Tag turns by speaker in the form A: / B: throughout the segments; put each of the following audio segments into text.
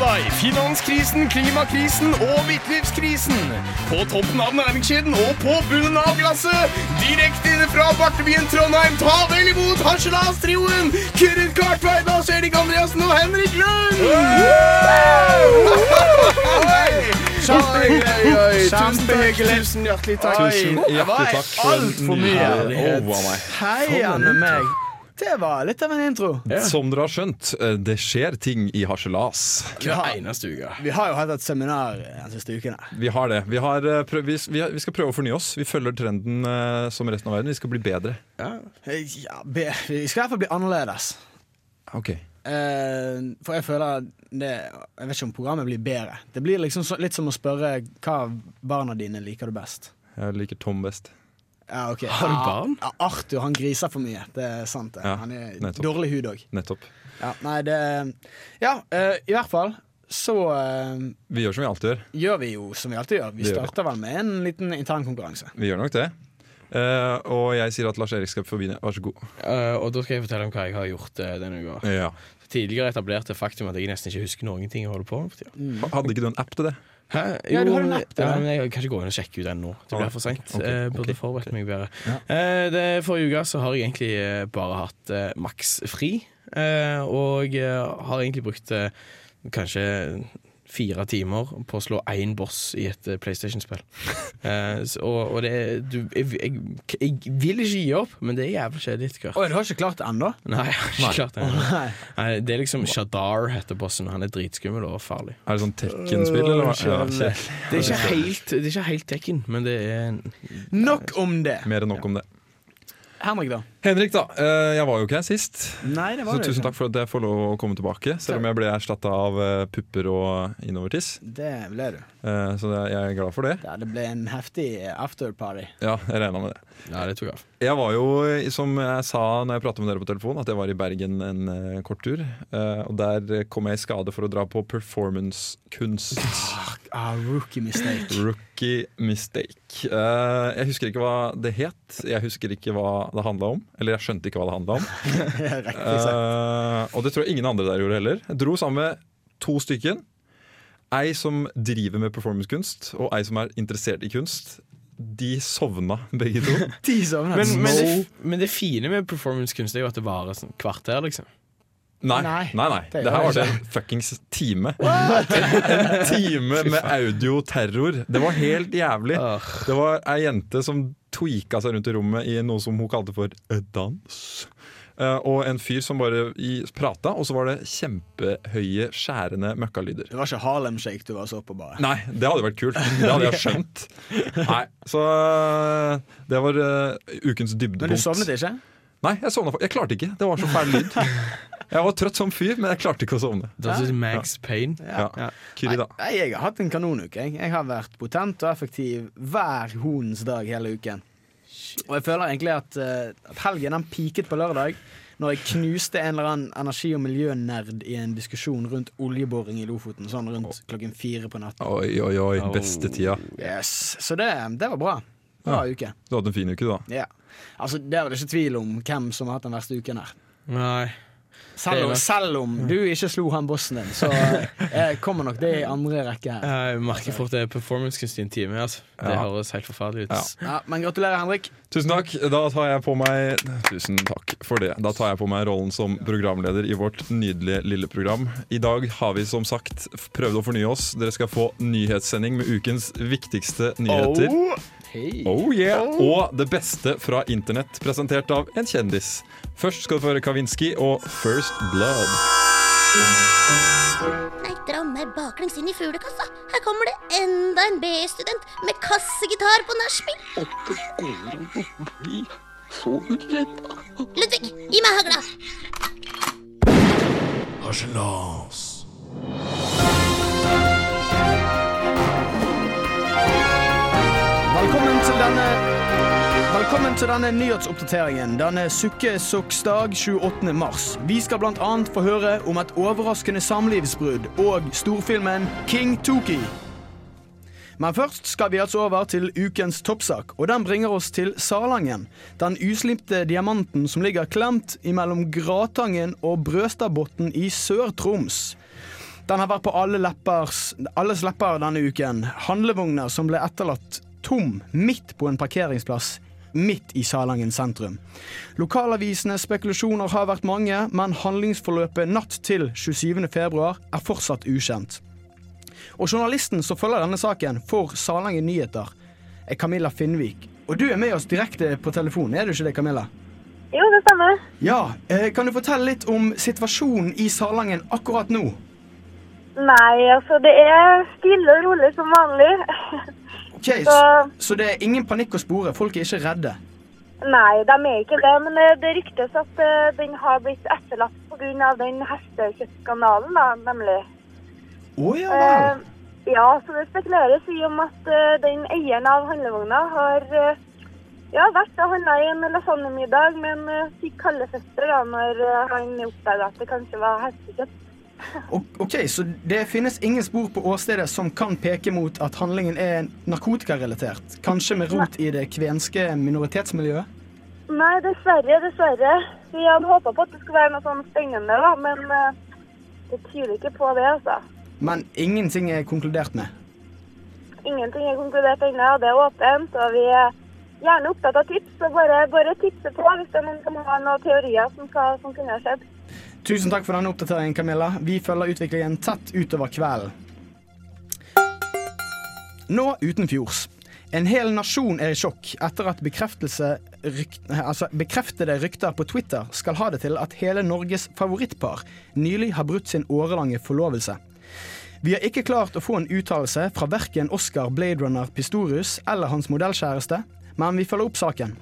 A: deg finanskrisen, klimakrisen og midtlivskrisen. På toppen av næringskjeden og på bunnen av glasset. Direkte inne fra bartebyen Trondheim, ta vel imot harselas-trioen Kyrre Kartveit, Lars Erik Andreassen og Henrik Lund! Kjempehyggelig. Tusen takk. Tusen hjertelig takk.
B: Tusen
A: Oi, det
B: hjertelig
A: var
B: takk for en
A: altfor
B: ny
A: mye.
B: herlighet. Over meg.
A: Sånn
C: Heiane meg. Det var litt av en intro.
B: Som dere har skjønt, eh, det skjer ting i harselas.
A: Hver eneste uke.
C: Vi har jo hatt et seminar de siste ukene.
B: Vi har det. Vi, har, eh, prøv, vi, vi, har- vi skal prøve å fornye oss. Vi følger trenden eh, som resten av verden. Vi skal bli bedre.
C: Ja, be, vi skal i hvert fall bli annerledes.
B: Ok
C: Eh, for jeg føler det Jeg vet ikke om programmet blir bedre. Det blir liksom så, litt som å spørre hva av barna dine liker du best.
B: Jeg liker Tom best.
C: Ja, ok
A: Har du barn?
C: Ja, Arthur han griser for mye. Det er sant. det
B: Ja,
C: Han er
B: nettopp.
C: dårlig hud òg.
B: Nettopp.
C: Ja, nei, det Ja, eh, i hvert fall så eh,
B: Vi gjør som vi alltid gjør.
C: gjør vi jo som vi alltid gjør. Vi
B: Det gjør vi.
C: starter vel med en liten internkonkurranse.
B: Vi gjør nok det. Eh, og jeg sier at Lars Erik skal forbi. Vær så god.
A: Eh, og da skal jeg fortelle om hva jeg har gjort eh, denne uka.
B: Ja.
A: Tidligere etablerte faktum at jeg nesten ikke husker noen ting jeg holder på med. for tiden.
B: Hadde ikke du en app til det?
A: Hæ?
C: Ja, du har en app til
A: ja,
C: det.
A: men jeg kan ikke gå inn og sjekke ut den nå. Det
B: Ah,
A: blir for seint.
B: ok,
A: Eh,
B: ok,
A: burde forberedt meg bedre.
C: Ja.
A: Eh, det, forrige uke så har jeg egentlig eh, bare hatt eh, maks fri, eh, og eh, har egentlig brukt eh, kanskje fire timer på å slå én boss i et eh, PlayStation-spill. Eh, s- og, og det er- du, jeg, jeg, jeg vil ikke gi opp, men det er jævlig kjedelig etter hvert.
C: Oi, du har ikke klart det ennå?
A: Nei, jeg har
B: Nei.
A: ikke klart det. ennå. Nei, Det er liksom Shadar heter bossen. Han er dritskummel og farlig.
B: Er det sånn Tekken-spill? eller hva? Ja, kjedelig.
A: Det er ikke helt, det er ikke helt Tekken, men det er en-
C: Nok om det.
B: Mer enn nok om det.
C: Henrik, da?
B: Henrik, da. eh, jeg var jo ikke her sist.
C: Nei, det
B: Så
C: var det
B: tusen
C: ikke.
B: takk for at jeg får lov å komme tilbake, selv om jeg ble erstatta av eh, pupper og innovertiss.
C: Det ble du.
B: Eh, så det- jeg er glad for det.
C: Ja, det ble en heftig afterparty.
B: Ja, jeg regna med det.
A: Ja, det tok av.
B: Jeg var jo, eh, som jeg sa når jeg pratet med dere på telefon, at jeg var i Bergen en eh, kort tur. eh, og der eh, kom jeg i skade for å dra på performancekunst.
C: Ah, rookie mistake.
B: Rookie mistake. Eh, jeg husker ikke hva det het. Jeg husker ikke hva det handla om. Eller jeg skjønte ikke hva det handla om.
C: Riktig sagt.
B: Eh, og det tror jeg ingen andre der gjorde heller. Jeg dro sammen med to stykken. Ei som driver med performancekunst, og ei som er interessert i kunst. De sovna begge to.
C: De sovnet.
A: Men, men,
C: Snow.
A: det, men det fine med performancekunst er jo at det varer sånn kvarter, liksom.
B: Nei, nei,
C: Nei.
B: nei,
C: Det
B: Det her
C: gjør
B: var det en fuckings time. En time med audioterror. Det var helt jævlig.
A: Åh.
B: Det var ei jente som tweaka seg rundt i rommet i noe som hun kalte for eh, dans. Eh, og en fyr som bare i- prata, og så var det kjempehøye, skjærende møkkalyder.
C: Det var ikke Harlem Shake du var så på, bare.
B: Nei, det hadde vært kult. Det hadde jeg skjønt. Nei, Så eh, det var eh, ukens dypdepunkt.
C: Men du sovnet ikke?
B: Nei, jeg sovna. fa- Jeg klarte ikke. Det var så fæl lyd. Jeg var trøtt som fyr, men jeg klarte ikke å sovne.
A: Da synes jeg sånn Max Payne.
B: Ja.
A: Ja.
B: Kyri, da.
C: Nei, jeg har hatt en kanonuke. Jeg. jeg har vært potent og effektiv hver honens dag hele uken. Og jeg føler egentlig at, eh, at helgen den piket på lørdag når jeg knuste en eller annen energi- og miljønerd i en diskusjon rundt oljeboring i Lofoten sånn rundt klokken fire på natten.
B: Oi, oi, oi.
A: Au.
B: Beste tida.
C: Yes. Så det, det var bra. Bra uke.
B: Du hadde en fin uke, du, da.
C: Ja. Altså, det er vel ikke tvil om hvem som har hatt den verste uken her.
A: Nei. Det
C: Selv
A: er
C: om,
A: nok-
C: selv om du ikke slo han bossen din, så eh, kommer nok det i andre rekke her.
A: Jeg merker fort det er performancekunst i en time. Altså. Det
B: Ja.
A: høres helt forferdelig ut.
B: Ja.
C: Ja, men gratulerer, Henrik.
B: Tusen takk. Da tar jeg på meg Tusen takk for det. Da tar jeg på meg rollen som programleder i vårt nydelige lille program. I dag har vi som sagt f- prøvd å fornye oss. Dere skal få nyhetssending med ukens viktigste nyheter.
C: Hei.
B: Oh yeah! Og det beste fra internett, presentert av en kjendis. Først skal du få høre Kavinsky og First Blood.
D: Nei, dra meg baklengs inn i fuglekassa. Her kommer det enda en BI-student med kassegitar på nachspiel. Ludvig, gi meg hagla.
C: Velkommen til denne Velkommen til denne nyhetsoppdateringen denne sukkesoksdag 28. mars. Vi skal bl.a. få høre om et overraskende samlivsbrudd og storfilmen King Toki. Men først skal vi altså over til ukens toppsak, og den bringer oss til Salangen. Den uslipte diamanten som ligger klemt imellom Gratangen og Brøstadbotn i Sør-Troms. Den har vært på alle leppers, alles lepper denne uken. Handlevogner som ble etterlatt tom midt på en parkeringsplass midt i Salangen sentrum. Lokalavisenes spekulasjoner har vært mange, men handlingsforløpet natt til 27. februar er fortsatt ukjent. Og journalisten som følger denne saken for Salangen Nyheter, er Camilla Finnvik. Og du er med oss direkte på telefonen, er du ikke det, Camilla?
E: Jo, det stemmer.
C: Ja, eh, kan du fortelle litt om situasjonen i Salangen akkurat nå?
E: Nei, altså det er stille og rolig som vanlig.
C: Ok, så, så det er ingen panikk å spore, folk er ikke redde.
E: Nei, de er ikke det, men eh, det ryktes at eh, den har blitt etterlatt pga. den hestekjøttskandalen, da, nemlig.
C: Å ja
E: Eh,
C: vel.
E: ja, så det spekuleres i om at eh, den eieren av handlevogna har eh, ja, vært og handla i en lasagnemiddag med en eh, syk kallesøster da, når eh, han oppdaga at det kanskje var hestekjøtt.
C: O- Ok, så det finnes ingen spor på åstedet som kan peke mot at handlingen er narkotikarelatert? Kanskje med rot i det kvenske minoritetsmiljøet?
E: Nei, dessverre, dessverre. Vi hadde håpa på at det skulle være noe sånn spennende, da, men eh, det tyder ikke på det, altså.
C: Men ingenting er konkludert med.
E: Ingenting er konkludert ennå, og det er åpent. Og vi er gjerne opptatt av tips, så bare, bare tipse på hvis det er noen som har noen teorier som, skal, som kunne ha skjedd.
C: Tusen takk for denne oppdateringen, Camilla. Vi følger utviklingen tett utover kvelden. Nå utenfjords. En hel nasjon er i sjokk etter at bekreftelse ryk, altså bekreftede rykter på Twitter skal ha det til at hele Norges favorittpar nylig har brutt sin årelange forlovelse. Vi har ikke klart å få en uttalelse fra verken Oscar Blade Runner Pistorius eller hans modellkjæreste, men vi følger opp saken.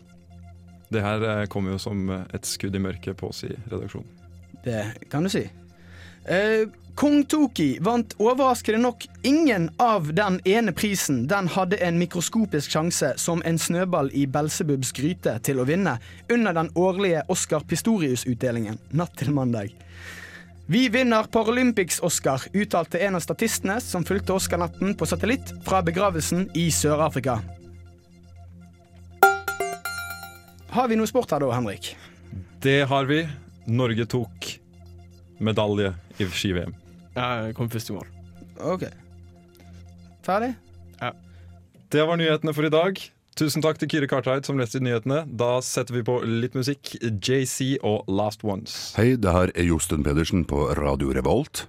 B: Det her eh, kommer jo som eh, et skudd i mørket på oss i redaksjonen.
C: Det kan du si. Eh, Kong Toki vant overraskende nok ingen av den ene prisen den hadde en mikroskopisk sjanse som en snøball i Belsebubs gryte til å vinne under den årlige Oscar Pistorius-utdelingen natt til mandag. Vi vinner Paralympics-Oscar, uttalte en av statistene som fulgte Oscar-natten på satellitt fra begravelsen i Sør-Afrika. Har vi noe sport her da, Henrik?
B: Det har vi. Norge tok medalje i ski-VM.
A: Jeg kom først i mål.
C: Ok. Ferdig?
B: Det var nyhetene for i dag. Tusen takk til Kyrre Kartveit som leste nyhetene. Da setter vi på litt musikk. JC og Last Ones.
F: Hei, det her er Josten Pedersen på Radio Revolt.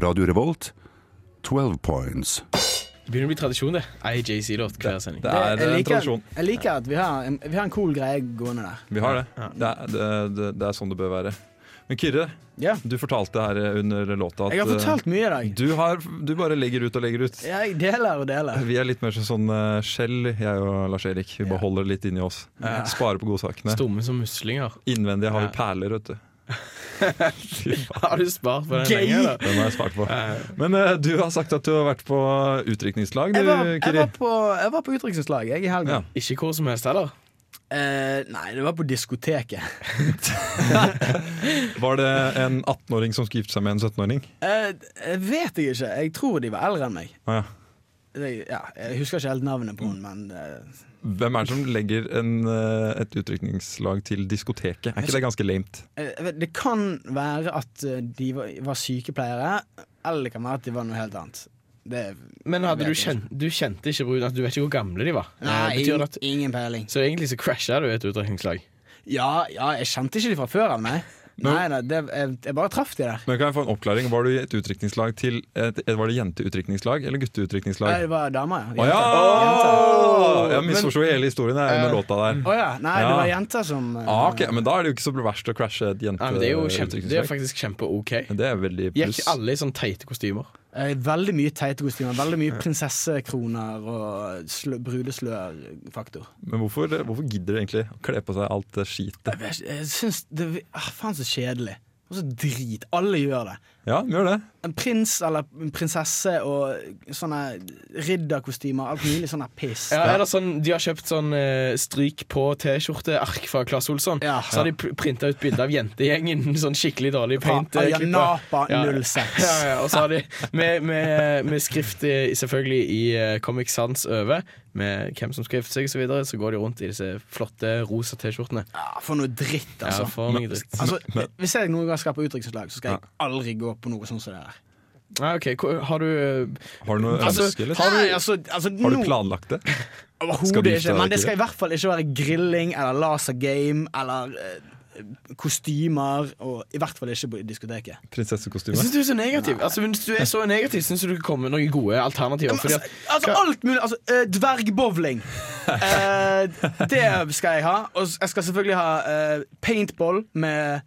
F: Radio Revolt, 12 points.
A: Det begynner å bli tradisjon, det. IJC-låt hver sending.
B: Det er
C: jeg
B: en
C: liker,
B: tradisjon.
C: Jeg liker at vi har, en, vi har en cool greie gående der.
B: Vi har det. Det er, det, det, det er sånn det bør være. Men Kyrre,
C: Ja.
B: du fortalte her under låta at
C: Jeg har fortalt mye i
B: eh,
C: dag.
B: du, har, du bare legger ut og legger ut.
C: Jeg deler og deler.
B: Vi er litt mer sånn eh, skjell, jeg og Lars-Erik. Vi bare holder litt inni oss. Sparer på godsakene.
A: Stumme som muslinger.
B: Innvendig har vi
A: Ja.
B: perler, vet du.
A: Har du spart på den
C: Gøy!
A: lenge, da?
B: Den har jeg spart på. Men eh, du har sagt at du har vært på utdrikningslag,
C: Jeg
B: du,
C: var, jeg
B: Kyrre.
C: var på, jeg var på utdrikningslag jeg, i helgen.
B: Ja.
A: Ikke hvor som helst heller.
C: Eh, nei, det var på diskoteket.
B: Var det en 18-åring som skulle gifte seg med en 17-åring?
C: Eh, jeg vet jeg ikke. Jeg tror de var eldre enn meg.
B: Ah, ja.
C: Jeg, ja, jeg husker ikke helt navnet på henne, men eh,
B: Hvem er det som legger en, eh, et utdrikningslag til diskoteket? Er ikke det ganske lamet?
C: jeg vet, det kan være at eh, de var, var sykepleiere, eller det kan være at de var noe helt annet. Det,
A: Men hadde
C: Vet
A: du,
C: jeg
A: kjent, du kjente ikke bruden? at Du vet ikke hvor gamle de var?
C: nei,
A: Eh, betyr det at,
C: ingen peiling.
A: så egentlig så crasha du et utdrikningslag.
C: Ja, ja, jeg kjente ikke de fra før av, nei. Nei, nei det, jeg, jeg bare traff de der.
B: Men kan jeg få en oppklaring? Var du i et utdrikningslag til et, et, Var det jenteutdrikningslag eller
C: Nei,
B: gutteutdrikningslag?
C: det var damer,
B: Å
C: ja.
B: ja!
C: Jenter.
B: Jeg misforsto hele historien jeg, under låta der.
C: Å ja. Nei, det
B: Ja.
C: var jenter som eh,
B: Ah, ok, Men da er det jo ikke så verst å crashe et
A: Nei, men det er jo kjempe, det er
B: jenteutdrikningslag.
A: faktisk kjempe-OK.
B: Det er veldig
A: Gikk
B: pluss.
A: alle i sånn teite kostymer?
C: eh, Veldig mye teite kostymer. Veldig mye prinsessekroner og slø, brudeslør-faktor.
B: Men hvorfor, hvorfor gidder de egentlig å kle på seg alt det skitet?
C: Jeg, vet ikke, jeg syns det ah, Faen, så kjedelig. Og så drit. Alle gjør det.
B: Ja, de gjør det.
C: En prins eller en prinsesse og sånne ridderkostymer. Alt mulig sånn her piss.
A: Ja, eller sånn, De har kjøpt sånn eh, stryk på T-skjorte-ark fra Claes Olsson.
C: Ja.
A: Så har de pr- printa ut bilde av jentegjengen. Sånn skikkelig dårlig paint. eh, klipper.
C: Ayanapa
A: Ja.
C: 06.
A: Ja, ja, og så har de med, med, med skrift i, selvfølgelig i eh, Comic Sans over, med hvem som skrifter seg osv., så, videre, så går de rundt i disse flotte rosa T-skjortene.
C: Ja, for noe dritt, altså.
A: Ja, for noe dritt.
C: Altså, Hvis jeg noen gang skal på utdrikningslag, så skal jeg aldri gå på noe sånn som det der.
A: Nei, Ah, ok, hvor- Har du eh,
B: Har du noe
A: Altså,
B: ønske, eller?
C: Har du, altså, altså,
B: Har du
C: nå-
B: planlagt det? Skal du
C: Overhodet
B: gifte
C: ikke.
B: deg,
C: Men det
B: ikke
C: skal i hvert fall ikke være grilling eller lasergame eller eh, kostymer, og i hvert fall ikke på diskoteket.
A: Jeg
B: Prinsessekostyme?
A: syns du er så negativ. Altså, Hvis du er så negativ, syns jeg du kan komme med noen gode alternativer. Fordi
C: Altså,
A: at,
C: altså alt mulig. Altså, eh, dvergbowling. Eh, det skal jeg ha. Og s- jeg skal selvfølgelig ha eh, paintball med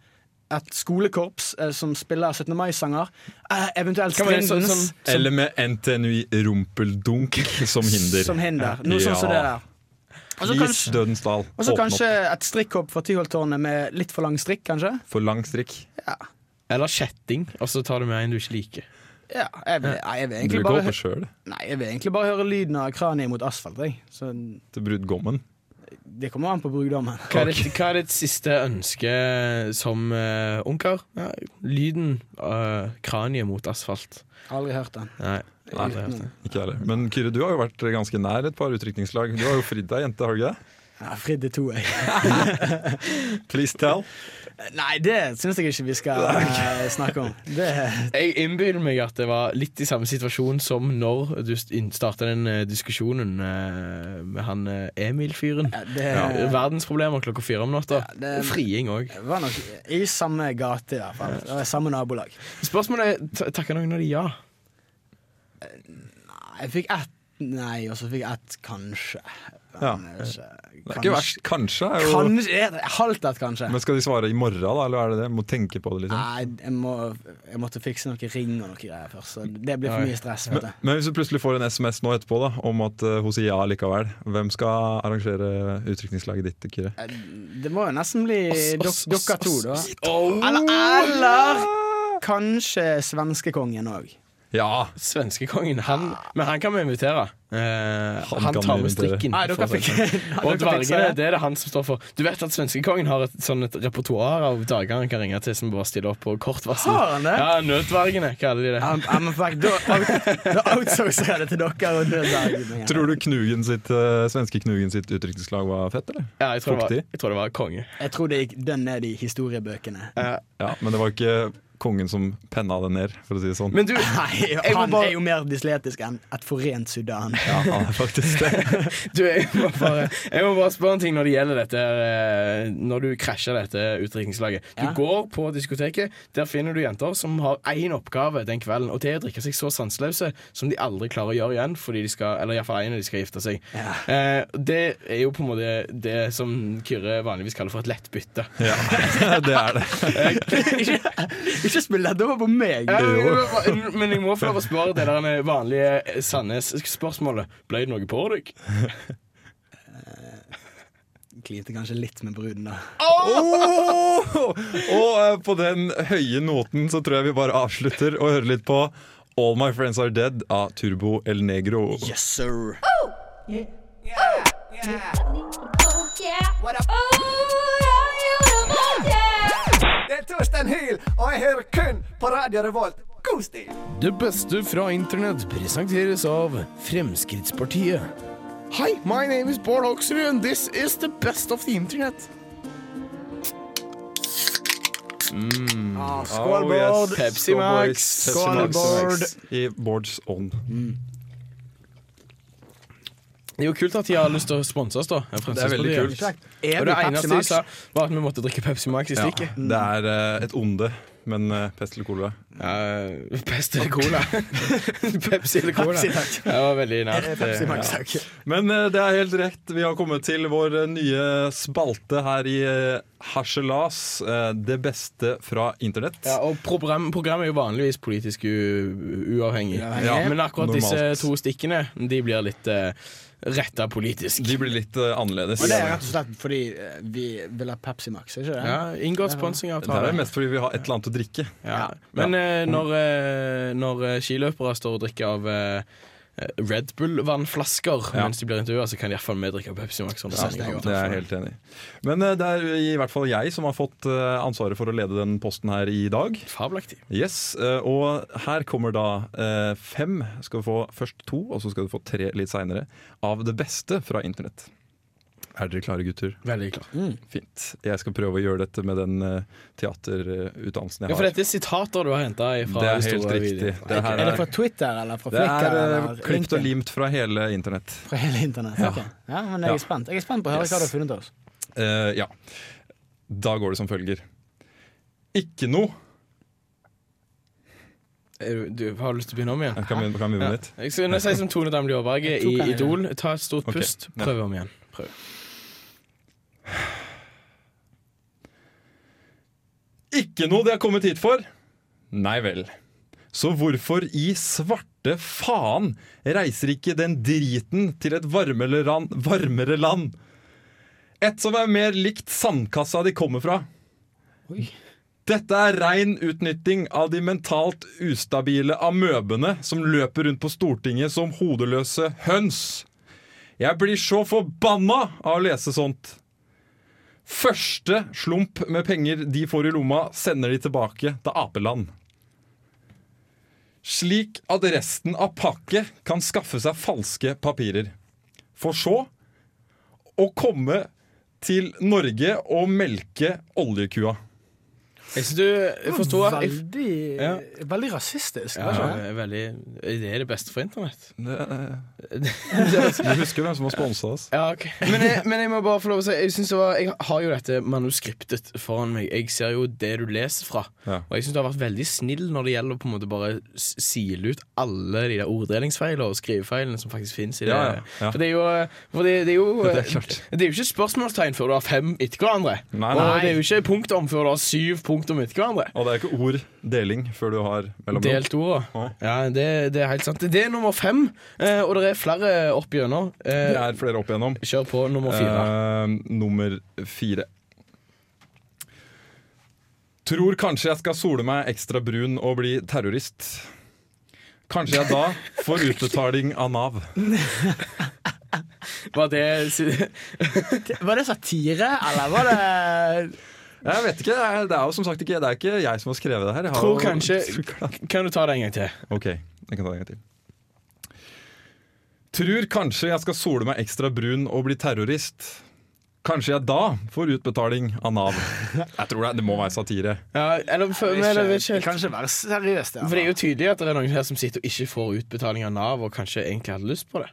C: et skolekorps eh, som spiller 17. mai-sanger. Eh, eventuelt
A: Kan være sånn-
C: Strindens
A: sånn-
B: Eller med NTNUI rumpeldunk som hinder.
C: som hinder. Noe sånn som det
B: Ja.
C: der. Og så
B: Please,
C: kanskje,
B: Dødens dal.
C: og så
B: Åpne
C: kanskje
B: opp
C: et strikkhopp fra Tyholttårnet med litt for lang strikk, kanskje.
B: for lang strikk.
A: eller kjetting, og så tar du med en du ikke liker.
C: Ja, jeg vil, nei, jeg vil
B: Du
C: egentlig
B: går
C: bare
B: på sjøl
C: Nei, jeg vil egentlig bare høre lyden av kraniet mot asfalt. Jeg. Så
B: til brudgommen.
C: det kommer an på brudgommen.
A: Hva er, ditt, hva er ditt siste ønske som eh, ungkar? Ja, lyden av kraniet mot asfalt.
C: Aldri hørt den.
A: Nei, aldri hørt det.
B: Ikke jeg heller. Men Kyrre, du har jo vært ganske nær et par utrykningslag. Du har jo fridd deg, jente, har du ikke det?
C: Ja, Fridd til to, jeg.
B: Please tell.
C: Nei, det syns jeg ikke vi skal eh, snakke om. Det,
A: Jeg innbiller meg at det var litt i samme situasjon som når du starta den eh, diskusjonen eh, med han eh, Emil-fyren.
C: ja, det,
A: Eh, Verdensproblemer klokka fire om natta.
C: det-
A: Og friing òg.
C: det var nok i samme gate, i hvert fall. Det var samme nabolag.
A: Spørsmålet er ta- takker noen av de ja.
C: Nei, Jeg fikk ett nei, og så fikk jeg ett kanskje.
B: Ja.
C: Men jeg vet
B: Det er ikke verst. Kanskje. Er jo...
C: Kanskje, kanskje Halvt ett, kanskje.
B: Men skal de svare i morgen, da? Eller er det det? Må tenke på det, liksom.
C: Nei, jeg, må, jeg måtte fikse noe ring og noe greier først. Så det blir for mye stress. vet du
B: Men hvis du plutselig får en SMS nå etterpå da om at eh, hun sier ja likevel, hvem skal arrangere utrykningslaget ditt, Kyrre?
C: Det må jo nesten bli
A: oss,
C: dok
A: oss,
C: dere to, da.
A: Oh.
C: Eller, eller kanskje svenskekongen òg.
B: Ja!
A: Svenskekongen.
C: Ah.
A: Han, men han kan vi invitere. Eh, han,
B: kan
A: tar
B: vi
A: med
B: invitere.
A: strikken.
C: Nei,
A: for
C: dere
A: å si
C: fikk Dere
A: det sånn. Og
C: fikser
A: dvergene,
C: det.
A: det er det han som står for. Du vet at Svenskekongen har et, sånn et repertoar av dager han kan ringe til som bare stiller opp på kort varsel.
C: Har han det?
A: Ja, Nødvergene, kaller de det.
C: Ja, men fuck, Da out- da outsourcer jeg det til dere. Og det der.
B: Tror du Knugen sitt, eh, svenske Knugen sitt utrykningslag var fett, eller?
A: Ja, jeg, tror det var,
B: Fuktig?
A: jeg tror det var konge.
C: Jeg tror det gikk dønn ned i historiebøkene.
B: Ja, men det var ikke kongen som penna det ned, for å si det sånn.
A: Men du,
C: Nei,
A: må
C: Han
A: bare-
C: er jo mer dysletisk enn et forent Sudan.
B: Ja, ja, det er faktisk det.
A: du jeg, må bare, jeg må bare spørre en ting når det gjelder dette eh, Når du krasjer dette utdrikningslaget. Du
C: Ja.
A: går på diskoteket. Der finner du jenter som har én oppgave den kvelden, og det er å drikke seg så sanseløse som de aldri klarer å gjøre igjen, fordi de skal, eller iallfall en av de skal gifte seg. Eh, det er jo på en måte det som Kyrre vanligvis kaller for et lett bytte.
B: Ja, det er det.
C: Ikke spill dette over på meg!
A: Ja, men jeg må- men jeg må få lov å spørre det der vanlige eh, Sandnes-spørsmålet. Ble det noe på deg?
C: Klinte kanskje litt med bruden, da.
B: Åh! Og eh, på den høye noten så tror jeg vi bare avslutter og hører litt på All My Friends Are Dead av Turbo El Negro.
C: Yes, sir.
D: Oh, yeah. Oh, yeah, you know, yeah.
G: Det er Torsten Hyl, og jeg hører kun på Radio Revolt. God stil!
A: Det beste fra internett presenteres av Fremskrittspartiet. Hi, my name is Bård Hoksrud, and this is the best of the internet.
C: Skål,
B: Oh, yes.
C: Bård.
A: Pepsi
B: Skål, boys.
A: Max.
B: Pepsi
C: Skål,
B: Max.
C: Bård.
B: I Bårds ånd.
A: Det er jo kult at de har lyst til å sponse oss, da.
B: Det er veldig kult.
A: Og det
C: Evig Pepsi
A: eneste de
C: Max.
A: sa, var at vi måtte drikke Pepsi Max i
B: Ja,
A: stikket.
B: det er eh, et onde, men eh, pest eller kolera.
A: Eh, Pest eller cola? Pepsi eller cola?
C: Pepsi, takk.
A: Det var veldig nært.
C: Eh, Pepsi Max, takk.
B: Men eh, det er helt rett. Vi har kommet til vår eh, nye spalte her i eh, Harselas. eh, det beste fra internett.
A: Ja, og program, programmet er jo vanligvis politisk u uavhengig.
C: Ja,
A: men akkurat
B: normalt.
A: disse to stikkene De blir litt uh, retta politisk.
B: De blir litt eh, annerledes.
C: Og det er rett og slett fordi eh, vi vil ha Pepsi Max, ikke det?
A: Ja, Inngått
B: Det er
A: sponsingavtale.
B: mest fordi vi har et eller annet å drikke.
A: Ja. Men eh, når, eh, når eh, skiløpere står og drikker av eh, Red Bull-vannflasker
B: Ja.
A: mens de blir intervjua, så kan iallfall vi drikke Pepsi Max. under
C: synes jeg
A: sendingen.
C: godt.
B: Det er jeg helt enig i. Men eh, det er i hvert fall jeg som har fått eh, ansvaret for å lede den posten her i dag.
A: Fabelaktig.
B: Yes, eh, Og her kommer da eh, fem. Skal du få først to, og så skal du få tre litt seinere. Av det beste fra internett. Er dere klare, gutter?
A: Veldig klar.
B: Fint. Jeg skal prøve å gjøre dette med den eh, teaterutdannelsen jeg
A: Ja,
B: har.
A: for dette er sitater du har henta fra
B: Det er
A: de store
B: helt riktig.
A: videoene.
B: Det her
C: Er det
B: er,
C: fra Twitter eller fra
B: det
C: Flickr?
B: er eh,
C: eller
B: klipt og
C: LinkedIn?
B: limt fra hele internett.
C: Fra hele internett. ok. Ja, men jeg
B: Ja.
C: er spent Jeg er spent på å høre
B: Yes.
C: hva du har funnet til oss.
B: Eh, ja. Da går det som følger. Ikke noe
A: Er du- Du har lyst til å begynne om igjen?
B: Jeg kan begynne, kan begynne
A: Ja.
B: på nytt.
A: Jeg skulle si som Tone Damli Aarberge
C: Jeg tok
A: i
C: den, ja.
A: Idol. Ta et stort
B: Ok,
A: pust,
B: ja.
A: prøv om igjen. Prøv.
B: Ikke noe de har kommet hit for? Nei vel. Så hvorfor i svarte faen reiser ikke den driten til et varmere land, varmere land? Et som er mer likt sandkassa de kommer fra.
C: Oi.
B: Dette er rein utnytting av de mentalt ustabile amøbene som løper rundt på Stortinget som hodeløse høns. Jeg blir så forbanna av å lese sånt. Første slump med penger de får i lomma, sender de tilbake til apeland. Slik at resten av pakket kan skaffe seg falske papirer. For så å komme til Norge og melke oljekua.
A: Jeg synes du jeg forstår at jeg,
C: Veldig,
A: Ja.
C: veldig rasistisk.
A: ja,
C: var ikke det?
A: det er veldig, Det er det beste for internett.
B: Du husker hvem som har sponsa oss?
A: Ja, ok men, jeg, men jeg må bare få lov å si Jeg, synes det var, jeg har jo dette manuskriptet foran meg. Jeg ser jo det du leser fra.
B: Ja.
A: Og jeg syns du har vært veldig snill når det gjelder å på en måte bare s- sile ut alle de der orddelingsfeilene og skrivefeilene som faktisk fins i det.
B: Ja, ja, ja.
A: For det er jo, for det, det er jo
B: Det er klart.
A: det er jo ikke spørsmålstegn før du har fem etter hverandre.
B: Nei,
A: Og
B: nei.
A: det er jo ikke punktum før du har syv punktum etter hverandre.
B: Og det er ikke ord deling før du har mellomrom.
A: Delt orda. Ja, det, det er helt sant. Det er nummer fem, eh, og det er flere opp gjennom.
B: Det
A: Eh,
B: er flere opp igjennom.
A: Kjør på nummer fire.
B: Eh, nummer fire. Tror kanskje jeg skal sole meg ekstra brun og bli terrorist. Kanskje jeg da får utbetaling av Nav. Eh.
A: Var det
C: Var det satire, eller var det
B: Jeg vet ikke, Det er, det er jo som sagt ikke, det er ikke jeg som har skrevet det her. Jeg har
A: Tror
B: jo-
A: kanskje- Kan du ta det en gang til?
B: Ok, jeg kan ta det en gang til. Tror kanskje jeg skal sole meg ekstra brun og bli terrorist. Kanskje jeg da får utbetaling av Nav. Jeg tror det, det må være satire.
A: Ja, eller, for, men, eller vet ikke helt.
C: Kanskje være seriøst, ja.
A: For det er jo tydelig at det er noen her som sitter og ikke får utbetaling av Nav, og kanskje egentlig hadde lyst på det.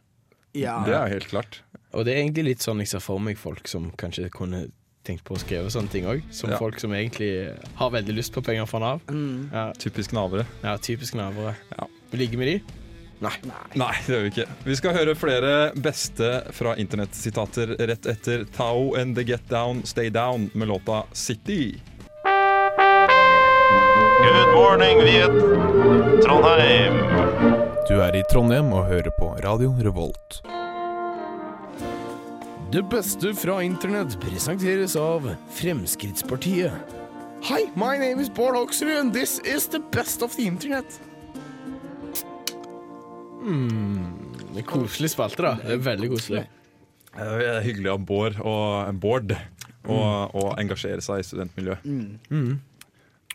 C: ja.
B: Det er helt klart.
A: Og det er egentlig litt sånn jeg ser for meg folk som kanskje kunne tenkt på å skrive sånne ting òg. Som
B: Ja.
A: folk som egentlig har veldig lyst på penger fra Nav. Ja,
B: Typisk navere.
A: ja typisk navere.
B: Ja.
A: Ligge med de.
B: Nei, det gjør vi ikke. Vi skal høre flere beste fra internettsitater rett etter Tao and The Get Down Stay Down med låta City.
H: Good morning, Viet. Trondheim.
I: Du er i Trondheim og hører på Radio Revolt.
J: Det beste fra internett presenteres av Fremskrittspartiet. Hi, my name is Bård Hoksrud, and this is the best of the internet.
A: Hmm, Det er Koselig spalte, da. Det er veldig koselig.
B: Det er hyggelig av Bård og eh, Bård å å engasjere seg i studentmiljø.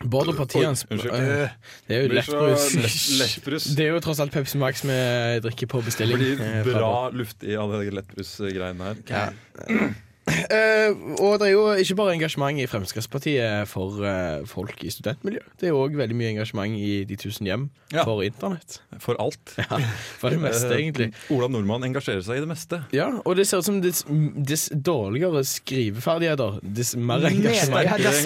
A: Bård og partiet hans
B: Oi, unnskyld.
A: øh, Det er jo
B: Blir så lett-
A: lettbrus.
B: lettbrus.
A: Det er jo tross alt Pepsi Max vi drikker på
B: Det
A: bestilling. eh,
B: blir
A: fra Bård.
B: bra luftig av det lettbrusgreiene her.
A: Ja. Eh, og det er jo ikke bare engasjement i Fremskrittspartiet for eh, folk i studentmiljø. Det er jo òg veldig mye engasjement i De tusen hjem
B: Ja.
A: for internett.
B: For alt.
A: Ja, for det meste,
B: Eh,
A: egentlig.
B: Ola Nordmann engasjerer seg i det meste.
A: Ja, Og det ser ut som dess, dess dårligere skriveferdigheter, dess mer
C: Ja,
A: engasjement.
C: dess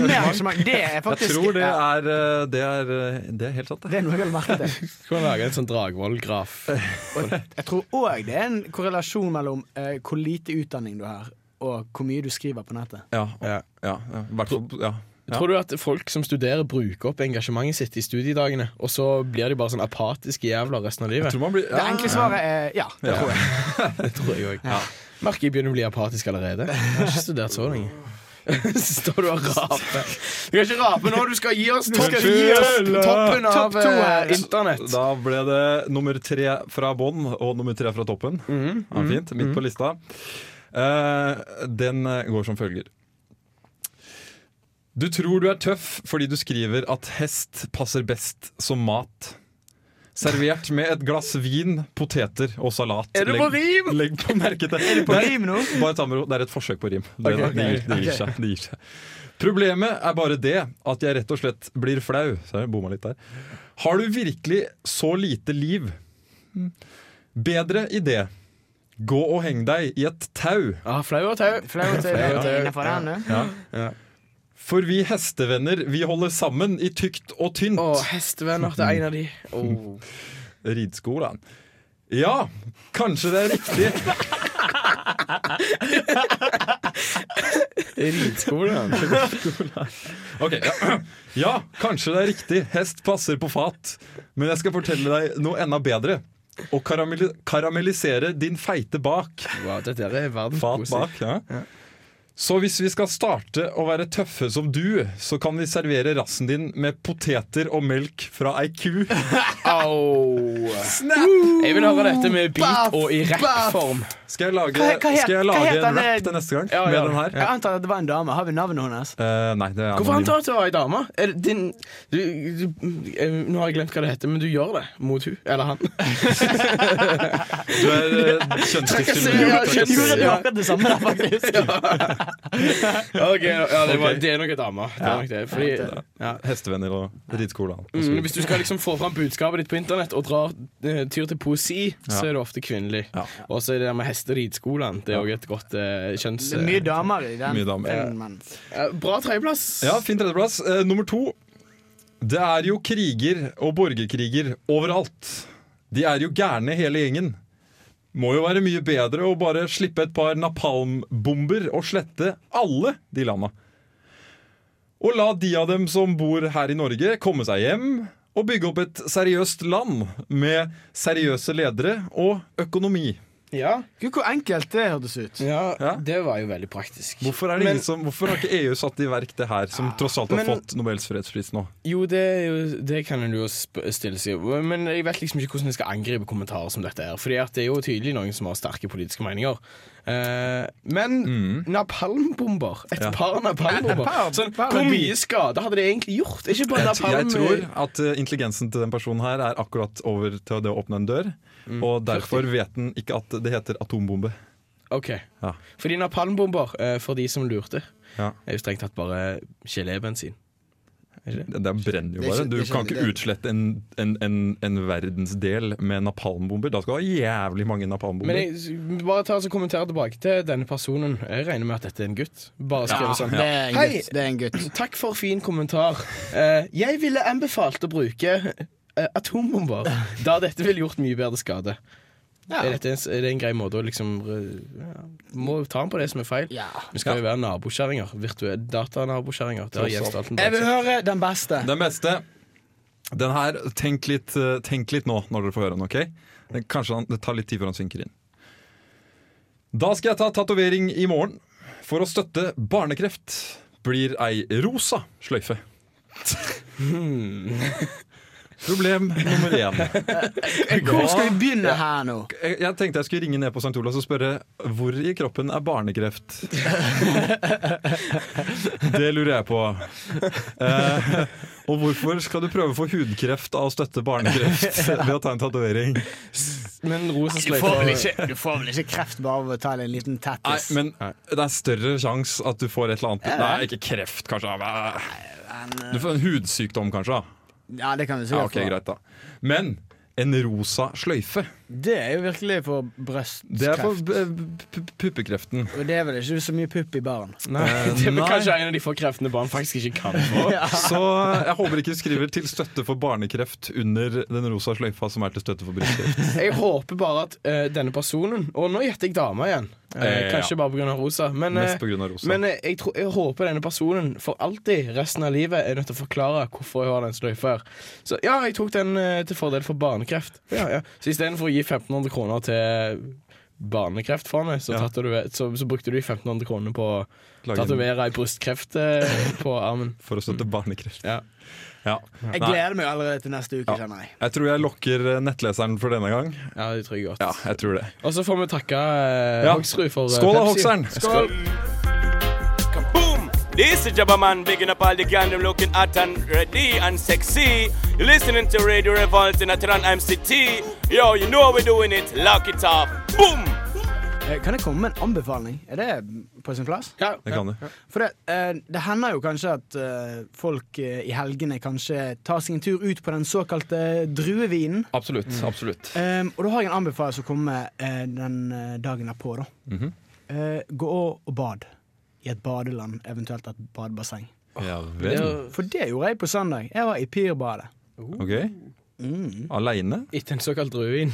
C: mer engasjement. Det er
B: Jeg
C: faktisk
B: tror det
C: ja,
B: er, eh, det er, eh, det er helt sant, det.
C: det er noe jeg har merket. det.
A: Skal man lage en sånn Dragvoll-graf?
C: Jeg tror òg det er en korrelasjon mellom eh, hvor lite utdanning du har, og hvor mye du skriver på nettet.
B: Ja, ja,
A: Ja.
B: ja, i hvert fall, ja. Ja.
A: Tror du at folk som studerer, bruker opp engasjementet sitt i studiedagene, og så blir de bare sånn apatiske jævler resten av
B: Jeg
A: livet?
B: tror man blir
C: Det
B: ja.
C: enkle svaret er ja. Det tror jeg.
A: Det tror jeg òg. Merker jeg begynner å bli apatisk allerede. Jeg har ikke studert så lenge. Så står du og raper. Du kan ikke rape nå, du skal gi oss, topp,
B: skal
A: gi oss
B: fylle.
A: toppen
C: Topp
A: av
C: to her.
A: eh, internett.
B: Da ble det nummer tre fra bånn og nummer tre fra toppen.
C: Mhm,
B: ja, fint, Midt på lista. Eh, den eh, går som følger. Du tror du er tøff fordi du skriver at hest passer best som mat. Servert med et glass vin, poteter og salat.
C: Er det på
B: legg, rim?! Legg på merke til Er
C: det på rim nå?
B: Bare ta med ro. Det er et forsøk på rim. Det,
C: Ok.
B: da, det, gir, det, gir seg, det gir seg. Problemet er bare det at jeg rett og slett blir flau. Så jeg bomma litt der. Har du virkelig så lite liv? Bedre idé. Gå og heng deg i et tau.
A: Ja, Ah, flau og tau.
C: Flau og tau.
B: Flau og tau.
C: Innenfor den, ja.
B: Ja. For vi hestevenner, vi holder sammen i tykt og tynt.
A: Å, hestevenner. Det er en av de. Å.
B: Ridskolen. Ja, kanskje det er riktig.
A: Ridskolen.
B: Ok, ja. ja, kanskje det er riktig. Hest passer på fat. Men jeg skal fortelle deg noe enda bedre. Å karamell- karamellisere din feite bak.
A: Wow, dette er verdens
B: Fat bak, ja. Så hvis vi skal starte å være tøffe som du, så kan vi servere rassen din med poteter og melk fra ei ku.
A: Au. Jeg vil høre dette med beat og i rappform.
B: Skal jeg lage,
C: Hva- hva het-
B: skal jeg
C: hva
B: lage
C: het
B: en
C: den, eh,
B: rap til neste gang
A: Ja,
B: med
A: ja.
B: den her?
C: Jeg antar at det var en dame. Har vi navnet hennes?
B: Eh, nei, det er
A: Hvorfor
B: anonym.
A: antar du at det var ei dame? Er det din du, du, eh, Nå har jeg glemt hva det heter, men du gjør det mot hun eller han.
B: Du er eh, kjønnsdiskriminert.
A: Ja,
C: Jeg gjorde
A: ja.
C: akkurat det samme, der, faktisk.
A: Ok, ja, det, var,
B: Ok.
A: det er nok ei dame. Det er nok det. Fordi, ja.
B: Hestevenner og rideskolen.
A: mm, hvis du skal liksom få fram budskapet ditt på internett og drar eh, tur til poesi, så
B: Ja.
A: er det ofte kvinnelig.
B: Ja.
A: Og så er det der med hesteridskolen. Det er òg et godt eh, kjønns...
C: Det er mye damer i den
B: Mye damer.
C: filmen.
A: Eh, bra tredjeplass.
B: Ja, fin tredjeplass. Eh, nummer to. Det er jo kriger og borgerkriger overalt. De er jo gærne hele gjengen. Må jo være mye bedre å bare slippe et par napalmbomber og slette alle de landa. Og la de av dem som bor her i Norge, komme seg hjem og bygge opp et seriøst land med seriøse ledere og økonomi.
A: Ja.
C: Gud, hvor enkelt det hørtes ut.
A: ja,
B: Ja.
A: det var jo veldig praktisk.
B: Hvorfor, er det
A: Men-
B: ingen som, hvorfor har ikke EU satt i verk det her, som tross alt har
A: Men-
B: fått Nobels fredspris nå?
A: Jo, det, er jo, det kan en jo sp stille seg Men jeg vet liksom ikke hvordan jeg skal angripe kommentarer som dette. er Fordi at det er jo tydelig noen som har sterke politiske meninger. Eh, men
B: Mm.
A: napalmbomber! Et par napalmbomber. Sånn, hvor mye skade hadde det egentlig gjort? Ikke bare
B: Jeg,
A: napalm
B: jeg tror at eh, intelligensen til den personen her er akkurat over til det å åpne en dør.
C: Mm.
B: Og derfor vet den ikke at det heter atombombe.
A: Ok.
B: Ja.
A: Fordi napalmbomber, eh, for de som lurte,
B: Ja.
A: er jo strengt tatt bare gelébensin.
B: Det det brenner jo
C: Det er
B: bare.
C: ikke-
B: Du
C: det er
B: kan
C: ikke-
B: ikke utslette en, en, en, en verdensdel med napalmbomber. Da skal du ha jævlig mange
A: Men
B: napalmbomber.
A: jeg bare ta og kommentere tilbake til denne personen. Jeg regner med at dette er en gutt. Bare skriv
C: Ja,
A: sånn.
C: det er en
A: Hei,
C: gutt. Det er en gutt.
A: Takk for fin kommentar. Eh, jeg ville anbefalt å bruke eh, atombomber, da dette ville gjort mye bedre skade.
C: Ja.
A: Er, dette en, s- er det en grei måte å liksom eh, ja, Må ta den på det som er feil.
C: Ja.
A: Vi skal jo være nabokjerringer. Virtuelle datanabokjerringer. Det har
C: Jeg
A: Jens Stoltenberg
C: vil
A: sagt.
C: høre den beste.
B: Den beste Den her, tenk litt, eh, tenk litt nå når dere får høre den, ok? Den- Kanskje han, det tar litt tid før han synker inn. Da skal jeg ta tatovering i morgen. For å støtte barnekreft blir ei rosa sløyfe. Problem nummer én.
C: Hvor skal vi begynne her nå?
B: Jeg, jeg tenkte jeg skulle ringe ned på St. Olavs og spørre hvor i kroppen er barnekreft. Det lurer jeg på. Eh, og hvorfor skal du prøve å få hudkreft av å støtte barnekreft ved å ta en tatovering?
A: Men rosa
C: Du får, vel
A: sløyfe
C: ikke, du får vel ikke kreft bare av å ta deg en liten
B: Nei,
C: tattis?
B: men det er større sjanse at du får et eller annet Nei, ikke kreft, kanskje. Du får
A: eh,
B: en hudsykdom, kanskje. da.
C: Ja, det kan du
B: Ja,
C: sikkert
B: ok, greit da Men en rosa sløyfe.
C: få. Det er jo virkelig for
B: Det er for
C: brystkreft.
B: b- p- puppekreften. Eh,
C: Og det er vel ikke så mye pupp i baren.
A: Nei, det er vel
B: Nei.
A: kanskje en av de få kreftene barn faktisk ikke kan få.
B: Så jeg håper ikke du skriver 'til støtte for barnekreft' under den rosa sløyfa som er til støtte for brystkreft.
A: Jeg håper bare at eh, denne personen Og nå gjetter jeg dama igjen. Eh,
B: Eh,
A: kanskje
B: ja.
A: bare pga. rosa. Men, eh,
B: Mest på grunn av rosa.
A: men eh, jeg, tror, jeg håper denne personen for alltid resten av livet er nødt til å forklare hvorfor jeg har den sløyfa her. Så ja, jeg tok den eh, til fordel for barnekreft. Ja, ja. Så istedenfor å gi 1500 kroner til Barnekreftfondet, så,
B: Ja.
A: tatover- så, så brukte du 1500 kroner på å
B: Lage en-
A: tatovere ei brystkreft eh, på armen.
B: For å støtte barnekreft.
A: Ja.
B: Ja.
C: Jeg
B: Nei,
C: gleder meg allerede til neste uke, kjenner jeg.
B: jeg tror jeg lokker eh, nettleseren for denne gang.
A: ja, det tror jeg godt.
B: Ja, jeg tror det.
A: Og så får vi takke eh,
B: Ja.
A: Hoksrud for eh,
B: Skål da,
A: Pepsi.
B: Hokseren!
A: Skål.
K: Boom! This is Jabba Man bigging up all the gang, them looking hot and ready and sexy. listening to Radio Revolt in a Trondheim city. Yo, you know how we're doing it. Lock it up. Boom!
C: Eh, Kan jeg komme med en anbefaling? Er det på sin plass?
A: Ja,
B: Det kan du.
C: For det, eh, det hender jo kanskje at eh, folk eh, i helgene kanskje tar seg en tur ut på den såkalte druevinen.
B: Absolutt. absolutt.
C: Eh, og da har jeg en anbefaling som kommer eh, den eh, dagen derpå, da.
B: Mhm.
C: Eh, gå og bad. I et badeland, eventuelt et badebasseng.
B: Ja vel.
C: For det gjorde jeg på søndag. Jeg var i Pirbadet.
B: OK. Aleine?
A: Etter en såkalt druin.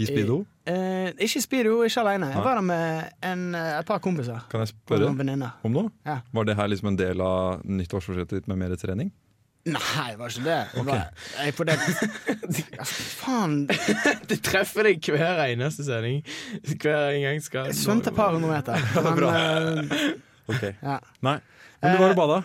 B: I speedo?
C: Eh, ikke Speedo, ikke alene. Jeg
B: Nei.
C: var der med en, eh, et par kompiser.
B: Kan
C: Og
B: jeg spørre
C: noen venninner.
B: om noe?
C: Ja.
B: Var det her liksom en del av nyttårsforsettet ditt med mer trening?
C: Nei, det var ikke det. det var, jeg, for det altså, Faen.
A: Det treffer deg hver eneste sending. Hver en gang skal
C: Jeg svømte et par hundre meter. Men, eh,
B: Ok.
C: ja.
B: Nei. Men du var og bada?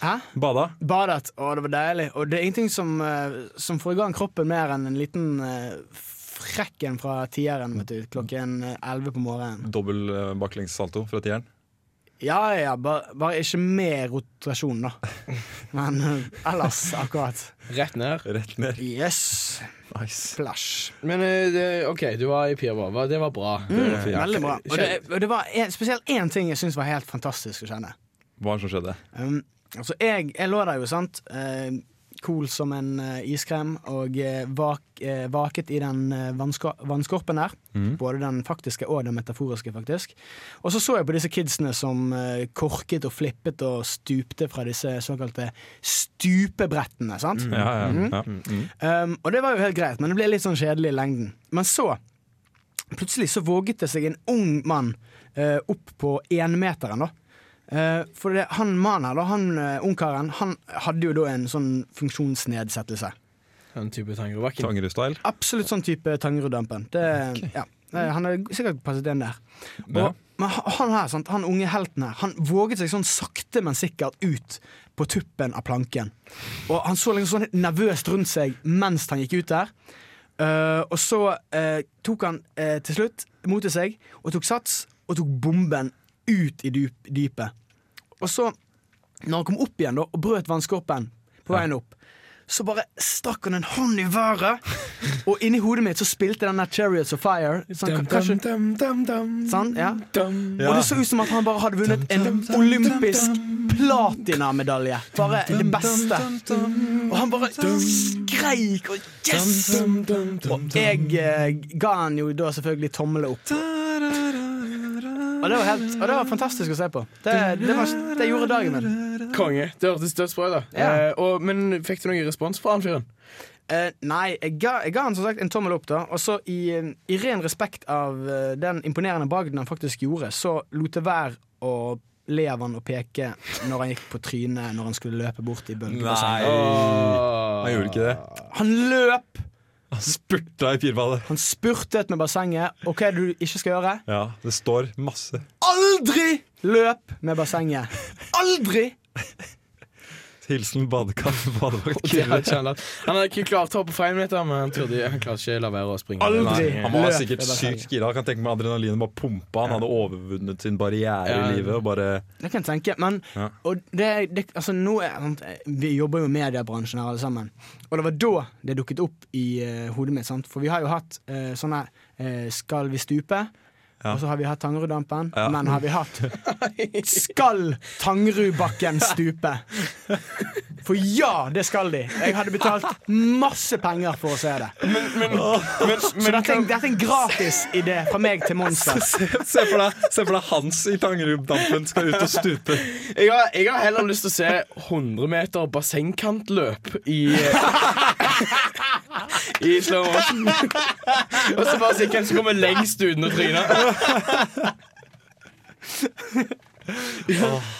C: Hæ?
B: Bada?
C: Badet, og det var deilig. Og det er ingenting som, eh, som får i gang kroppen mer enn en liten eh, frekken fra tieren vet du, klokken eh, 11 på morgenen.
B: Dobbel eh, baklengssalto fra tieren?
C: Ja ja, bare, bare ikke med rotasjon, da. Men eh, ellers akkurat.
A: Rett ned.
B: Rett ned.
C: Yes.
B: Nice.
C: Flash.
A: Men eh, det, OK, du var i Pirva. Det var bra.
C: Mm.
B: Det var fint.
C: Veldig bra. Og det, og det var en, spesielt én ting jeg syntes var helt fantastisk å kjenne.
B: Hva er det som skjedde?
C: Um, altså, jeg, jeg lå der jo, sant. Eh, cool som en eh, iskrem, og eh, vak, eh, vaket i den eh, vannsko vannskorpen der. Både den faktiske og den metaforiske, faktisk. Og så så jeg på disse kidsene som eh, korket og flippet og stupte fra disse såkalte stupebrettene, sant.
B: Mm, Ja, ja, ja. Mm.
C: Um, og det var jo helt greit, men det ble litt sånn kjedelig i lengden. Men så, plutselig så våget det seg en ung mann eh, opp på énmeteren, da. Eh, for det, han mannen her, da, han eh, ungkaren, han hadde jo da en sånn funksjonsnedsettelse.
A: Den type Tangerudbakken.
B: Tangerud-style.
C: Absolutt sånn type Tangeruddampen. Det, ja. Eh, Han hadde sikkert passet inn der. Og,
B: Ja.
C: Men ha- han her, sant? han unge helten her, han våget seg sånn sakte, men sikkert ut på tuppen av planken. Og han så liksom sånn nervøst rundt seg mens han gikk ut der. Eh, og så eh, tok han eh, til slutt mot til seg og tok sats og tok bomben ut i dyp, dypet. Og så, når han kom opp igjen da, og brøt vannskorpen på veien opp, så bare stakk han en hånd i været, og inni hodet mitt så spilte den der Chariots of Fire. Sånn,
A: Dum,
C: kanskje,
A: dum, dum, dum,
C: sånn, ja.
A: dum.
C: Og det så ut som at han bare hadde vunnet en olympisk platinamedalje. Bare det beste. Og han bare skreik og yes! Og jeg eh, ga han jo da selvfølgelig tommel opp. Og det var, helt, og det var fantastisk å se på. Det, det, var, det gjorde dagen min.
A: Konge. Det hørtes dødsbra ut. da.
C: Ja.
A: Eh, og- men fikk du noen respons fra han fyren?
C: Eh, nei, jeg ga, jeg ga han som sagt en tommel opp, da. Og så i, i ren respekt av eh, den imponerende bragden han faktisk gjorde, så lot det være å le av han og peke når han gikk på trynet når han skulle løpe bort i bølgebassenget.
B: Han gjorde ikke det.
C: Han løp!
B: Han spurta i pirbadet.
C: Han spurtet med bassenget. Og hva er det du ikke skal gjøre?
B: Ja, det står masse.
C: Aldri løp med bassenget! Aldri!
B: Hilsen badekar. badevakt.
A: Det hadde ikke han, latt. han hadde ikke klart å hoppe fra en meter, men han, trodde, han klarte ikke la være å springe.
C: Aldri.
B: Nei, han var
C: Løp,
B: sikkert
C: det var
B: sykt
C: feil.
B: gira. Jeg kan tenke meg adrenalinet bare pumpa. Han hadde overvunnet sin barriere
A: Ja.
B: i livet og bare
C: Det kan jeg tenke, men
B: Ja.
C: og det, det, altså, nå er, sant, Vi jobber jo i mediebransjen her alle sammen. Og det var da det dukket opp i eh, hodet mitt. Sant? For vi har jo hatt eh, sånne eh, 'Skal vi stupe?' Og så har vi hatt Tangeruddampen.
B: Ja.
C: Men har vi hatt 'Skal Tangerudbakken stupe'? For ja, det skal de! Jeg hadde betalt masse penger for å se det. så dette, er en- dette er en gratis idé fra meg til Monster.
B: se, se, for deg, se for deg Hans i Tangeruddampen skal ut og stupe.
A: Jeg har, jeg har heller lyst til å se 100 meter bassengkantløp i I slow motion. og så bare se hvem som kommer lengst uten å tryne.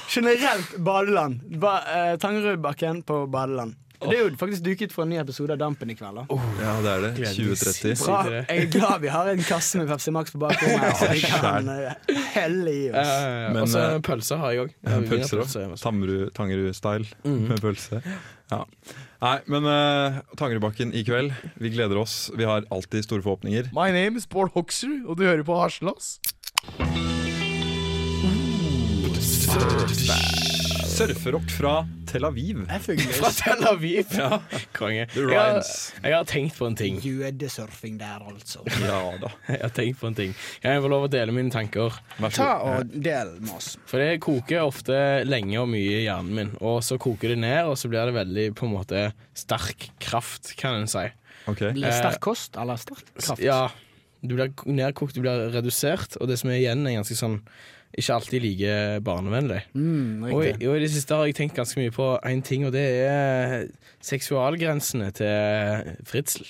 C: Generelt badeland. Ba, eh, Tangerudbakken på badeland. Det er jo faktisk duket for en ny episode av Dampen i kveld. da
B: Ja, det er det. 2030.
C: Bra.
A: Sier det.
C: Jeg er glad vi har en kasse med Pepsi Max på bakrommet. her, så vi kan eh, helle i
A: Eh,
C: oss.
B: Men,
A: og så
B: eh,
A: pølser har jeg òg.
B: Pølser òg. Tangerud-style med pølse. Ja. Nei, men eh, Tangerudbakken i kveld. Vi gleder oss. Vi har alltid store forhåpninger.
J: My name is Bård Hoksrud, og du hører på Harselas.
B: Surferock fra Tel Aviv.
A: Fra Tel Aviv.
B: Ja.
A: Konge.
B: The
A: Jeg har,
B: Ryans.
A: jeg har tenkt på en ting.
C: Jødesurfing der, altså.
A: Jeg har tenkt på en ting. Kan jeg få lov å dele mine tanker?
C: Ta og del med oss.
A: For det koker ofte lenge og mye i hjernen min, og så koker det ned, og så blir det veldig på en måte sterk kraft, kan en si.
C: Blir det sterk kost eller sterk kraft?
A: Ja. Du blir nedkokt, du blir redusert, og det som er igjen, er ganske sånn ikke alltid like barnevennlig.
C: Mm,
A: Og, i-
C: riktig.
A: og i det siste har jeg tenkt ganske mye på én ting, og det er seksualgrensene til Fritzl.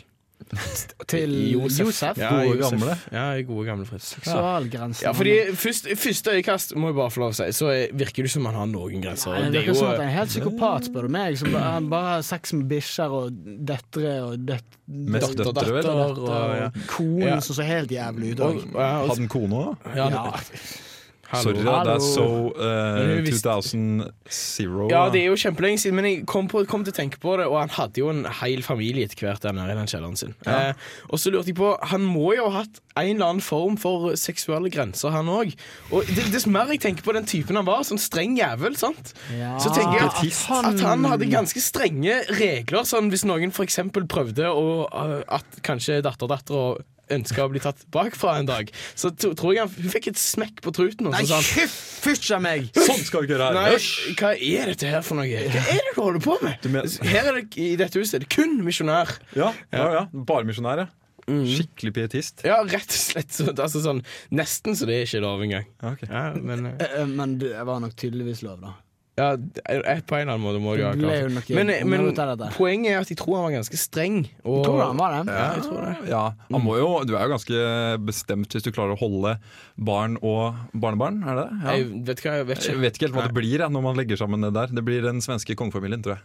C: Til Josef?
A: Ja,
B: Gode
A: Josef.
B: gamle.
A: Ja, gode gamle Fritzl.
C: Seksualgrensen.
A: Ja, fordi først, I første øyekast må jeg bare få lov å si Så eh, virker det som han har noen
C: Nei,
A: grenser. og
C: Det
A: er
C: virker
A: jo-
C: som at han er helt psykopat, spør du meg. Som bare, han bare har sex med bikkjer og døtre og døt...
B: Mest
A: Datter,
B: døtre, vel?
A: datter,
C: døtter
A: og- ja.
C: og konen
A: Ja.
C: som så helt jævlig ut
A: Og-
C: òg.
A: ja, og-
B: Hadde en kone òg?
A: ja,
C: Ja.
A: hallo.
B: Sorry, da. Det er so
A: Men
B: uh,
A: hun visste-
B: 2000 zero.
A: ja,
B: da.
A: det er jo kjempelenge siden, men jeg kom, på, kom til å tenke på det, og han hadde jo en hel familie etter hvert der nede i den kjelleren sin. Eh, og så lurte jeg på Han må jo ha hatt en eller annen form for seksuelle grenser, han òg. Og det- dess mer jeg tenker på den typen han var, sånn streng jævel, sant
C: Ja.
A: Så tenker jeg at
B: Pietist.
A: at han hadde ganske strenge regler. Sånn hvis noen for eksempel prøvde å, eh, at kanskje datterdattera ønska å bli tatt bakfra en dag, så to, tror jeg han hun fikk et smekk på truten. Og
C: Nei,
A: så sa han
C: fysj av meg!
B: Sånn skal du ikke gjøre
A: Nei,
B: her!
A: hva er dette her for noe? Hva er det du holder på med? Her er det, I dette huset er det kun misjonær.
B: Ja, ja, ja. Bare misjonær, ja.
A: Mm.
B: Skikkelig pietist.
A: Ja, rett og slett. Så, altså sånn, nesten så det er ikke lov engang.
B: Ja, ok.
A: Ja, men eh,
C: Eh, eh, Men det var nok tydeligvis lov, da.
A: ja, eh, på en eller annen måte må det jo ha
C: Det ble jo
A: klart.
C: nok
A: Men, eh,
C: en
A: men
C: rot av dette.
A: poenget er at jeg tror han var ganske streng. Og,
C: Tror du han var det?
A: Ja, jeg tror det.
B: Ja, han må jo, Du er jo ganske bestemt hvis du klarer å holde barn og barnebarn, er det det?
A: Jeg
B: Ja.
A: vet hva, jeg vet
B: Jeg
A: ikke.
B: vet ikke helt hva det blir jeg, når man legger sammen det der. Det blir den svenske kongefamilien, tror jeg.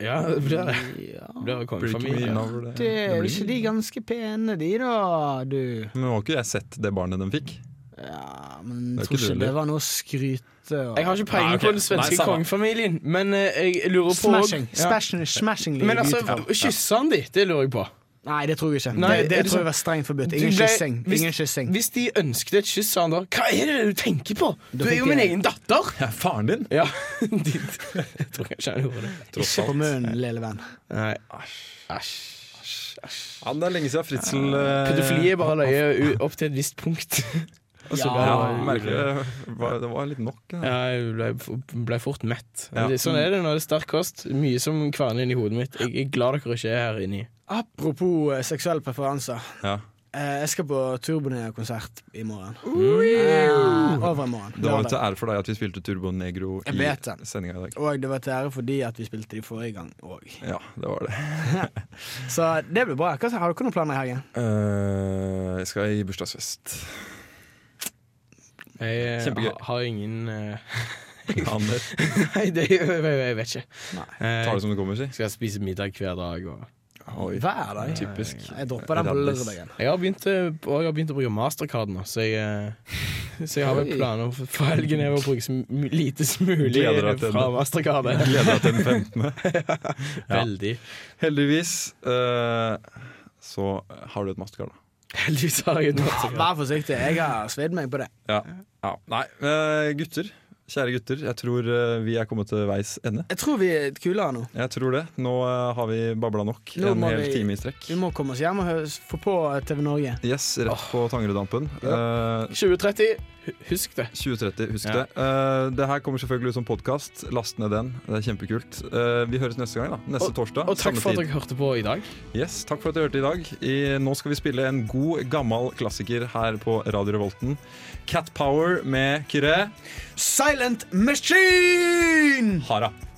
A: Ja, det blir det.
C: Ja.
A: Det blir
B: Blir ikke mye
A: kongefamilie.
B: innavl, det.
C: Det er jo
B: blir-
C: ikke de ganske pene, de da, du.
B: Men nå har ikke jeg sett det barnet de fikk.
C: Ja, men
B: Det
C: tror
B: er ikke du
C: ikke
B: heller.
C: det var noe å skryte av.
A: Jeg har ikke peiling
B: Nei, Ah, ok.
A: på den svenske
B: Nei, samme.
A: kongefamilien, men eh, jeg lurer på
C: Smashing.
A: Ja.
C: Smashing, smashing
A: Men altså,
C: ut fra-
A: kyssa han de? Det lurer jeg på.
C: Nei, det tror jeg ikke.
A: Nei,
C: det,
A: er
C: det
A: det
C: tror
A: sånn-
C: jeg var strengt forbudt.
A: Du
C: Ingen
A: ble-
C: kyssing.
A: hvis-
C: Ingen kyssing.
A: Hvis de ønsket et kyss, sa han da Hva er det du tenker på? Du
C: Da
A: er jo
C: fikk
A: min
C: jeg-
A: egen datter!
B: Ja, faren din!
A: Ja, de, jeg tror kanskje han gjorde det.
B: Tross
C: Ikke på
B: alt.
C: munnen, lille venn.
A: Nei, æsj. æsj.
B: Ja, men det er lenge siden Fritzel eh,
A: Pedofili er bare løye u- opp til et visst punkt. Og så
B: Ja,
A: ble-
B: merkelig. Det var- Det var litt nok. Ja.
A: Ja, jeg ble, f- ble fort mett.
B: Ja.
A: Det- Sånn er det når det er sterk kost. Mye som kverner inn i hodet mitt. Jeg er glad dere ikke er her inni.
C: Apropos eh, seksuelle preferanser.
B: Ja.
C: Eh, jeg skal på Turbonia-konsert i morgen. Eh, over i morgen.
B: Det var
C: lørdag.
B: til ære for deg at vi spilte Turbo Negro
C: Jeg vet
B: i
C: det.
B: sendinga i dag.
C: Og det var til ære fordi at vi spilte de forrige gang òg.
B: Ja, det var det.
C: Så det blir bra. Hva, har dere noen planer i helgen?
B: Eh, jeg skal i bursdagsfest.
A: Jeg eh,
B: Kjempegøy.
A: ha- har ingen eh,
B: Ander,
A: Nei, det, jeg, jeg vet ikke. Eh,
B: tar det som det kommer, si.
A: skal jeg spise middag hver dag. Og
B: Oi.
C: Hver dag?
B: Typisk.
C: Jeg dropper den på
B: Raddis.
C: lørdagen.
A: jeg, har begynt, eh, og jeg har begynt å bruke mastercard nå, så jeg, eh, så jeg har vel planer for- for helgen er å bruke så m- lite som mulig
B: Gleder deg til
A: fra
B: det.
A: mastercard.
B: Gleder deg til den 15. Ja.
A: Veldig.
B: Heldigvis eh, så har du et mastercard, da.
A: Heldigvis har jeg en mastercard.
C: Vær forsiktig, jeg har svidd meg på det.
B: Ja. ja. Nei, eh, gutter. Kjære gutter. Jeg tror eh, vi er kommet til veis ende.
C: Jeg tror vi er kulere nå.
B: Jeg tror det. Nå eh, har vi babla nok.
C: Nå
B: en
C: må
B: hel
C: vi-
B: time i strekk.
C: Vi må komme oss hjem og hø- få på TV Norge.
B: Yes, rett på Tangerudampen. Eh,
A: 2030, hu- husk det.
B: 2030, husk
A: Ja.
B: det. Uh, det her kommer selvfølgelig ut som podkast. Last ned den. Det er kjempekult. Eh, vi høres neste gang, da. Neste torsdag.
A: Og takk
B: samme
A: for at
B: tid.
A: dere hørte på i dag.
B: Yes, takk for at du hørte i dag. I, nå skal vi spille en god, gammel klassiker her på Radio Revolten. Cat Power med Kyrre
C: Silent Machine!
B: Hara.